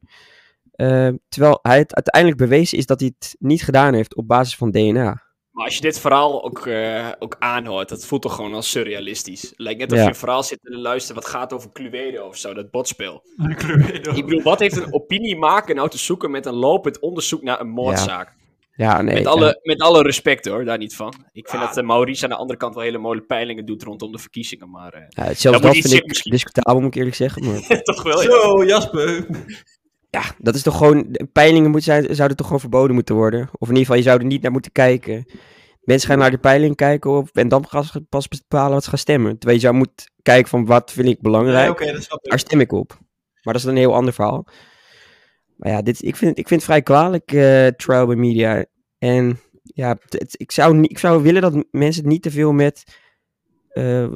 S2: Eh, terwijl hij het uiteindelijk bewezen is dat hij het niet gedaan heeft op basis van DNA.
S3: Maar als je dit verhaal ook, eh, ook aanhoort, dat voelt toch gewoon als surrealistisch. Lijkt net alsof
S2: Ja.
S3: je een verhaal zit te luisteren wat gaat over Cluedo of zo, dat botspel. Ik
S1: Cluedo.
S3: bedoel, wat heeft een opiniemaker nou te zoeken met een lopend onderzoek naar een moordzaak?
S2: Ja, nee.
S3: Met,
S2: ja.
S3: alle, met alle respect hoor, daar niet van. Ik vind
S1: Ja.
S3: dat eh, Maurice aan de andere kant wel hele mooie peilingen doet rondom de verkiezingen, maar eh,
S2: Ja, zelfs
S3: moet
S2: dat
S3: iets
S2: vind
S3: zeggen
S2: ik
S3: misschien.
S2: discutabel, moet ik eerlijk zeggen. Maar
S3: toch wel. ja.
S1: Zo, Jasper.
S2: ja, dat is toch gewoon... de Peilingen moet zijn, zouden toch gewoon verboden moeten worden? Of in ieder geval, je zou er niet naar moeten kijken. Mensen gaan naar de peiling kijken of, en dan gaan ze pas bepalen wat ze gaan stemmen. Terwijl je zou moeten kijken van wat vind ik belangrijk,
S1: Nee, Oké, dat snap
S2: daar
S1: ik.
S2: stem ik op. Maar dat is dan een heel ander verhaal. Maar ja, dit, ik, vind, ik vind het vrij kwalijk, eh trial by media. En ja, het- het- ik, zou, niet- ik zou willen dat m- mensen het niet te veel met... eh,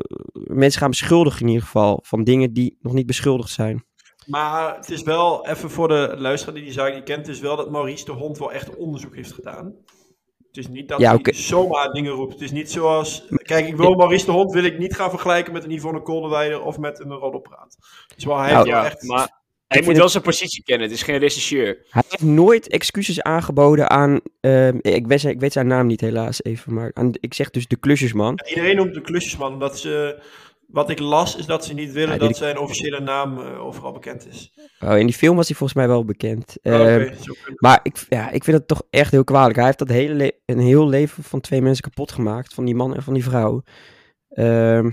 S2: mensen gaan beschuldigen in ieder geval van dingen die nog niet beschuldigd zijn.
S1: Maar het is wel, even voor de luisteraar die die zaak niet kent, het is wel dat Maurice de Hond wel echt onderzoek heeft gedaan. Het is niet dat
S2: Ja, oké.
S1: hij zomaar dingen roept. Het is niet zoals, kijk, ik wil Maurice de Hond wil ik niet gaan vergelijken met een Yvonne Kolderweijer of met een Roddelpraat. Dus wel, hij
S2: Nou,
S1: heeft wel
S3: Ja,
S1: echt...
S3: maar hij
S2: vind
S3: moet
S2: het-
S3: wel zijn positie kennen, het is geen rechercheur.
S2: Hij heeft nooit excuses aangeboden aan. ehm, ik, weet zijn, ik weet zijn naam niet helaas even, maar aan, ik zeg dus de klusjesman.
S1: Iedereen noemt de klusjesman, omdat ze... Wat ik las, is dat ze niet willen
S2: Ja, die-
S1: dat zijn officiële naam eh, overal bekend is.
S2: Oh, in die film was hij volgens mij wel bekend.
S1: Oh, oké,
S2: Ehm,
S1: zo kunnen-
S2: Maar ik, ja, ik vind het toch echt heel kwalijk. Hij heeft dat hele le- een heel leven van twee mensen kapot gemaakt. Van die man en van die vrouw. Ehm,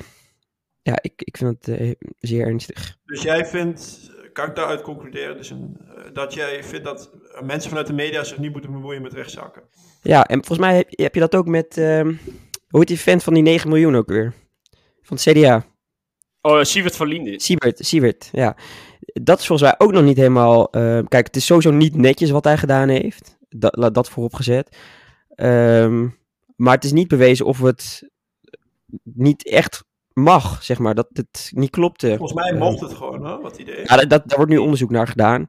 S2: ja, ik, ik vind het eh, zeer ernstig.
S1: Dus jij vindt, kan ik daaruit concluderen, dus een, eh, dat jij vindt dat eh, mensen vanuit de media zich niet moeten bemoeien met rechtszaken?
S2: Ja, en volgens mij heb, heb je dat ook met. ehm, hoe heet die vent van die 9 miljoen ook weer? Van het CDA.
S3: Oh, Sievert van Linden.
S2: Siebert, Siebert, ja. Dat is volgens mij ook nog niet helemaal... eh, kijk, het is sowieso niet netjes wat hij gedaan heeft. Dat, laat dat vooropgezet. Ehm maar het is niet bewezen of het niet echt mag, zeg maar. Dat het niet klopte.
S1: Volgens mij
S2: Eh,
S1: mocht het gewoon, hè, wat idee.
S2: Ja, dat, dat, daar wordt nu onderzoek naar gedaan.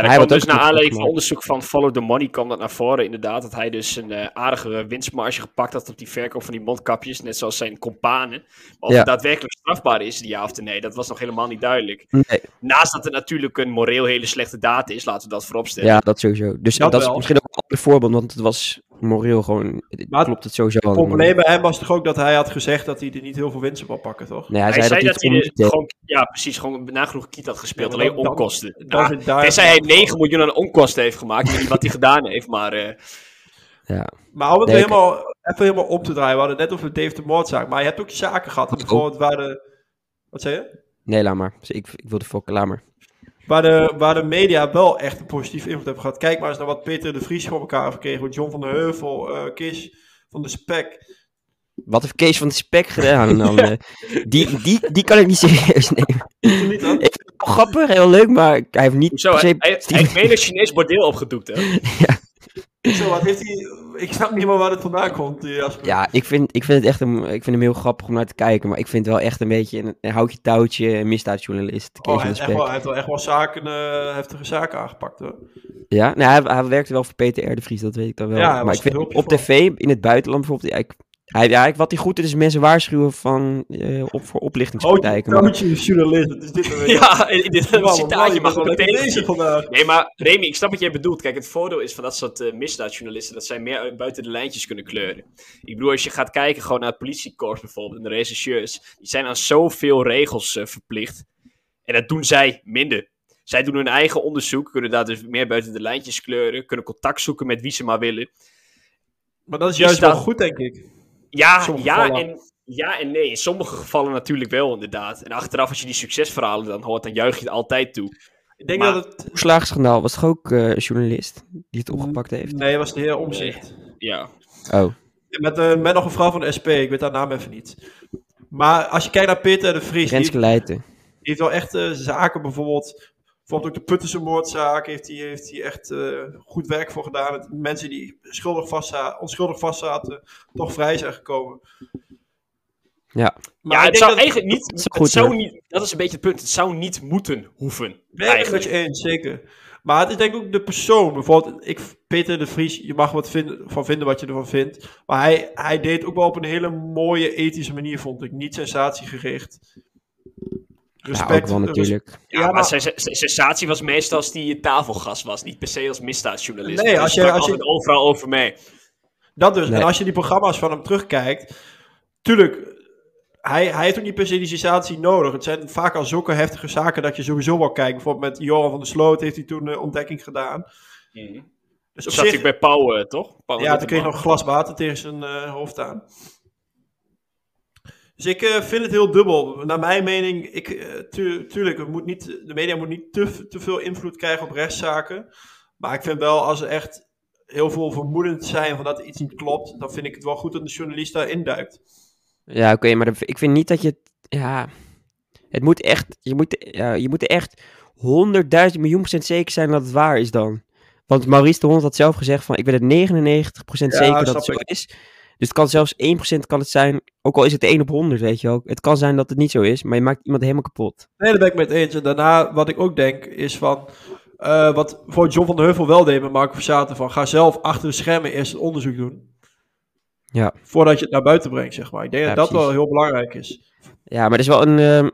S2: Hij
S3: dat kwam
S2: wordt
S3: dus
S2: ook
S3: naar
S2: goed
S3: aanleiding van
S2: gemaakt.
S3: onderzoek van Follow the Money kwam dat naar voren. Inderdaad, dat hij dus een eh, aardige winstmarge gepakt had op die verkoop van die mondkapjes. Net zoals zijn companen. Maar of
S2: Ja.
S3: het daadwerkelijk strafbaar is, die ja of nee, dat was nog helemaal niet duidelijk.
S2: Nee,
S3: Naast dat het natuurlijk een moreel hele slechte daad is, laten we dat vooropstellen.
S2: ja, dat sowieso. Dus
S1: Dat
S2: dat, is
S1: wel.
S2: misschien ook een ander voorbeeld, want het was moreel gewoon... Het
S1: Maar
S2: klopt het sowieso
S1: Het
S2: allemaal niet.
S1: probleem bij hem was toch ook dat hij had gezegd dat hij er niet heel veel winst op wou pakken, toch?
S2: Nee, hij,
S3: Hij zei dat,
S2: hij
S3: hij
S2: het
S3: de-
S2: gewoon niet deed.
S3: gewoon, ja precies, gewoon nagenoeg kiet had gespeeld,
S1: Ja, maar
S3: alleen
S1: dat-
S3: onkosten.
S1: dat
S3: Ja,
S1: is daar-
S3: tenzij hij 9 miljoen aan onkosten heeft gemaakt, ik weet niet wat hij gedaan heeft, maar eh,
S1: Maar om het
S2: Nee, ik-
S1: helemaal, even helemaal op te draaien, we hadden het net over Dave de moordzaak, maar je hebt ook zaken gehad, bijvoorbeeld waar de... Wat zei je?
S2: Nee, laat maar. Dus Ik, ik wilde voor laat maar.
S1: Waar de, waar de media wel echt een positieve invloed hebben gehad. Kijk maar eens naar wat Peter de Vries voor elkaar heeft gekregen. John van der Heuvel, eh Kis van de Spek.
S2: Wat heeft Kees van de Spek gedaan dan? eh? die, die, die kan ik niet serieus nemen.
S1: Niet dan?
S2: Ik vind het wel grappig, heel leuk, maar hij heeft niet
S3: hoezo?
S2: per se
S3: Hij, hij, hij
S2: Steven-
S3: heeft mede Chinees bordeel opgedoekt, hè?
S1: Zo, wat heeft hij... Ik snap niet meer waar het vandaan komt, eh, Jasper.
S2: Ja, ik vind, ik vind het echt een, ik vind hem heel grappig om naar te kijken, maar ik vind het wel echt een beetje een, een houtje touwtje een misdaadjournalist. Kees
S1: Oh, hij,
S2: van
S1: heeft
S2: de
S1: echt
S2: Spek.
S1: wel, hij heeft wel echt wel zaken, eh, heftige zaken aangepakt, hoor.
S2: Ja, nou, hij, hij werkte wel voor Peter R. de Vries, dat weet ik dan wel.
S1: Ja, hij
S2: maar
S1: was
S2: ik vind
S1: er hulpje
S2: op
S1: voor.
S2: tv, in het buitenland bijvoorbeeld, ja, ik, hij, ja, ik- wat hij goed doet is mensen waarschuwen van, eh, op, voor oplichtingspraktijken. maar-
S1: Coaching journalist, dat Oh, is dit een beetje-
S3: Ja, in dit
S1: Man, man,
S3: citaatje
S1: je
S3: mag
S1: bent wel
S3: ik meteen
S1: lekker bezig vandaag.
S3: Nee, maar Remy, ik snap wat jij bedoelt. Kijk, het voordeel is van dat soort eh, misdaadjournalisten dat zij meer uit- buiten de lijntjes kunnen kleuren. Ik bedoel, als je gaat kijken gewoon naar het politiekorps bijvoorbeeld en de rechercheurs, die zijn aan zoveel regels eh, verplicht. En dat doen zij minder. Zij doen hun eigen onderzoek, kunnen daar dus meer buiten de lijntjes kleuren, kunnen contact zoeken met wie ze maar willen.
S1: Maar dat is
S3: Is
S1: juist wel
S3: dat-
S1: goed, denk ik.
S3: Ja,
S1: sommige
S3: ja
S1: gevallen.
S3: en, ja en nee. In sommige gevallen natuurlijk wel, inderdaad. En achteraf, als je die succesverhalen dan hoort, dan juich je het altijd toe.
S1: Ik denk
S3: Maar-
S1: dat het...
S2: toeslagenschandaal was toch ook eh, een journalist die het opgepakt heeft?
S1: Nee, was de heer Omzicht.
S3: Ja.
S2: Oh,
S1: Met, eh, met nog een vrouw van de SP, ik weet haar naam even niet. Maar als je kijkt naar Peter de Vries, die,
S2: Renske Leijten.
S1: die heeft wel echt eh, zaken bijvoorbeeld... Bijvoorbeeld ook de Puttense moordzaak heeft hij heeft hij echt eh, goed werk voor gedaan. Dat mensen die schuldig vastza- onschuldig vastzaten, toch vrij zijn gekomen.
S2: Ja.
S1: Maar
S3: ja,
S1: ik
S3: het
S1: denk
S3: zou
S1: dat-
S3: eigenlijk niet,
S2: is
S3: het
S2: goed,
S3: zou
S2: hoor.
S3: niet. Dat is een beetje het punt. Het zou niet moeten hoeven.
S1: Nee, dat ben ik
S3: eigenlijk.
S1: met je eens, zeker. Maar het is denk ik ook de persoon. Bijvoorbeeld, ik, Peter de Vries, je mag wat vinden, van vinden wat je ervan vindt. Maar hij, hij deed ook wel op een hele mooie ethische manier, vond ik. Niet sensatiegericht.
S2: Ja,
S1: Respect.
S2: ook wel
S1: eh,
S2: natuurlijk.
S3: Ja,
S1: Ja,
S3: maar,
S1: maar-
S3: zijn zijn sensatie was meestal als die tafelgast was. Niet per se als misdaadjournalist.
S1: Nee,
S3: Want hij
S1: als je-
S3: sprak
S1: als je-
S3: altijd overal over mee.
S1: Dat dus.
S2: Nee.
S1: En als je die programma's van hem terugkijkt, tuurlijk, hij, hij heeft ook niet per se die sensatie nodig. Het zijn vaak al zulke heftige zaken dat je sowieso wel kijkt. Bijvoorbeeld met Johan van der Sloot heeft hij toen een ontdekking gedaan. Dus op
S3: Zat
S1: zich,
S3: ik bij Pauw, eh, toch? Pauw
S1: ja, toen kreeg hij
S3: Rotterdam.
S1: nog een glas water tegen zijn eh, hoofd aan. Dus ik eh, vind het heel dubbel. Naar mijn mening, ik, eh, tu- tuurlijk, het moet niet, de media moet niet te, te veel invloed krijgen op rechtszaken. Maar ik vind wel, als er echt heel veel vermoedend zijn van dat er iets niet klopt, dan vind ik het wel goed dat de journalist daar induikt.
S2: Ja, oké, maar dat- ik vind niet dat je... het- Ja, het moet echt... Je moet, ja, je moet er echt 100.000 miljoen procent zeker zijn dat het waar is dan. Want Maurice de Hond had zelf gezegd van... Ik ben het 99
S1: Ja,
S2: zeker dat
S1: snap
S2: het zo
S1: ik.
S2: is. Dus het kan zelfs 1 kan het zijn... Ook al is het 1 op 100, weet je wel. Het kan zijn dat het niet zo is, maar je maakt iemand helemaal kapot.
S1: Nee, daar ben ik mee eens. En daarna, wat ik ook denk, is van... eh, wat voor John van der Heuvel wel deed met Marco Versaten... van ga zelf achter de schermen eerst het onderzoek doen.
S2: Ja.
S1: Voordat je het naar buiten brengt, zeg maar. Ik denk
S2: Ja,
S1: dat dat
S2: precies.
S1: wel heel belangrijk is.
S2: Ja, maar dat is wel een... ehm,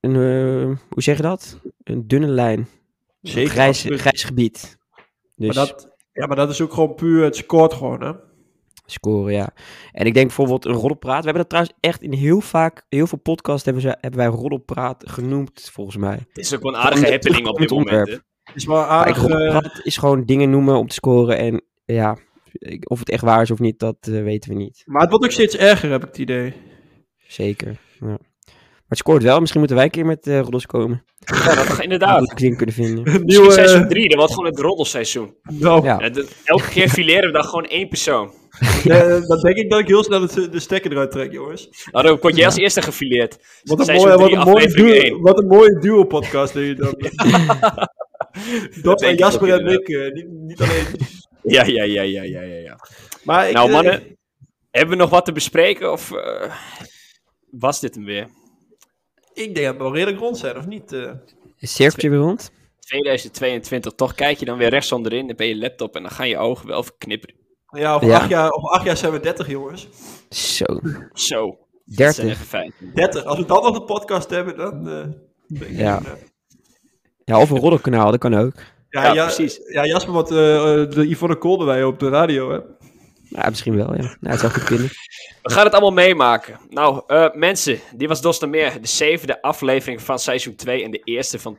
S2: een ehm, hoe zeg je dat? Een dunne lijn.
S1: Zeker.
S2: grijs,
S1: absoluut.
S2: grijs gebied. Dus...
S1: Maar dat, ja, maar dat is ook gewoon puur... Het scoort gewoon, hè.
S2: scoren, ja. En ik denk bijvoorbeeld een roddelpraat. We hebben dat trouwens echt in heel vaak, heel veel podcasts hebben, ze, hebben wij roddelpraat genoemd, volgens mij.
S3: Het is ook wel een aardige
S2: Om-
S3: happening op dit
S2: om-
S3: moment. hè.
S1: Het is wel
S2: Maar ik,
S1: aardig... eh,
S2: roddelpraat is gewoon dingen noemen om te scoren en ja, ik- of het echt waar is of niet, dat eh, weten we niet.
S1: maar het wordt ook steeds erger, heb ik het idee.
S2: Zeker, ja. Maar het scoort wel, misschien moeten wij een keer met eh roddels komen.
S3: Ja, dat
S2: Dat
S3: inderdaad.
S2: we kring kunnen vinden.
S1: Een
S3: Nieuwe...
S1: nieuwe...
S3: Seizoen 3, dat wordt gewoon het roddelseizoen.
S1: nou,
S2: Ja.
S3: En dat- Elke keer fileren we dan gewoon één persoon.
S1: eh, dan denk ik dat ik heel snel de, de stekker eruit trek, jongens.
S3: Nou, dan word jij als eerste gefileerd.
S1: Wat een,
S3: Seizoen
S1: mooie, wat
S3: drie,
S1: een, mooie,
S3: aflevering
S1: duo,
S3: één.
S1: wat een mooie duo-podcast doe je dan. dat
S3: denk
S1: en
S3: ik
S1: Jasper
S3: ook
S1: en ik, eh, niet, niet alleen
S3: Ja, ja, ja, ja, ja, ja. ja.
S1: Maar ik,
S3: Nou,
S1: eh,
S3: mannen. Hebben we nog wat te bespreken of eh, was dit hem weer?
S1: ik denk dat we wel redelijk rond zijn, of niet? eh?
S2: Is cirkeltje weer rond?
S3: 2022, toch kijk je dan weer rechts onderin, dan ben je laptop en dan gaan je ogen wel verknipperen.
S1: Ja, over,
S2: Ja.
S1: Acht jaar, over acht jaar zijn we 30, jongens.
S2: Zo,
S3: Zo, dat zijn
S2: 30.
S3: echt feiten.
S1: 30. Als we dan nog een podcast hebben, dan. eh, ben ik
S2: Ja.
S1: er, eh.
S2: Ja, of een roddelkanaal, dat kan ook.
S1: Ja,
S3: Ja,
S1: ja,
S3: precies.
S1: Ja, Jasper, wat eh, eh, de Yvonne Kolderwij op de radio, hè?
S2: Ja, misschien wel, ja. Nou, het zou goed kunnen.
S3: We gaan het allemaal meemaken. Nou, eh, mensen, dit was Dos te Meer, de zevende aflevering van seizoen 2 en de eerste van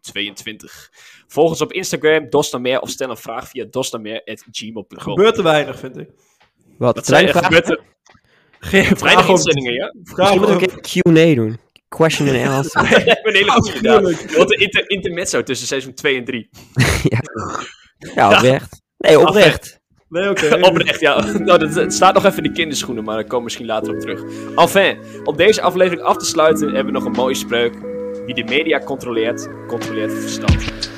S3: 2022. Volg ons op Instagram, Dos te Meer, of stel een vraag via dosdameer.gmail.com.
S1: Gebeurt te weinig, vind ik.
S2: Wat,
S3: Dat
S2: te weinig
S3: zijn echt
S2: vragen?
S3: gebeurt er
S1: Geen
S3: weinig
S1: vraag om
S3: inzendingen, ja?
S1: vraag om-
S2: Misschien moeten we een keer Q&A doen. Question and answer.
S3: We hebben een hele goede gedaan.
S1: Afschuwelijk.
S3: Wat een inter intermezzo tussen seizoen 2 en 3.
S2: Ja, ja oprecht. Nee, oprecht.
S1: Nee, oké.
S3: Oprecht, ja. Nou, dat, het staat nog even in de kinderschoenen, maar daar komen we misschien later op terug. Enfin, om deze aflevering af te sluiten hebben we nog een mooie spreuk. Wie de media controleert, controleert het verstand.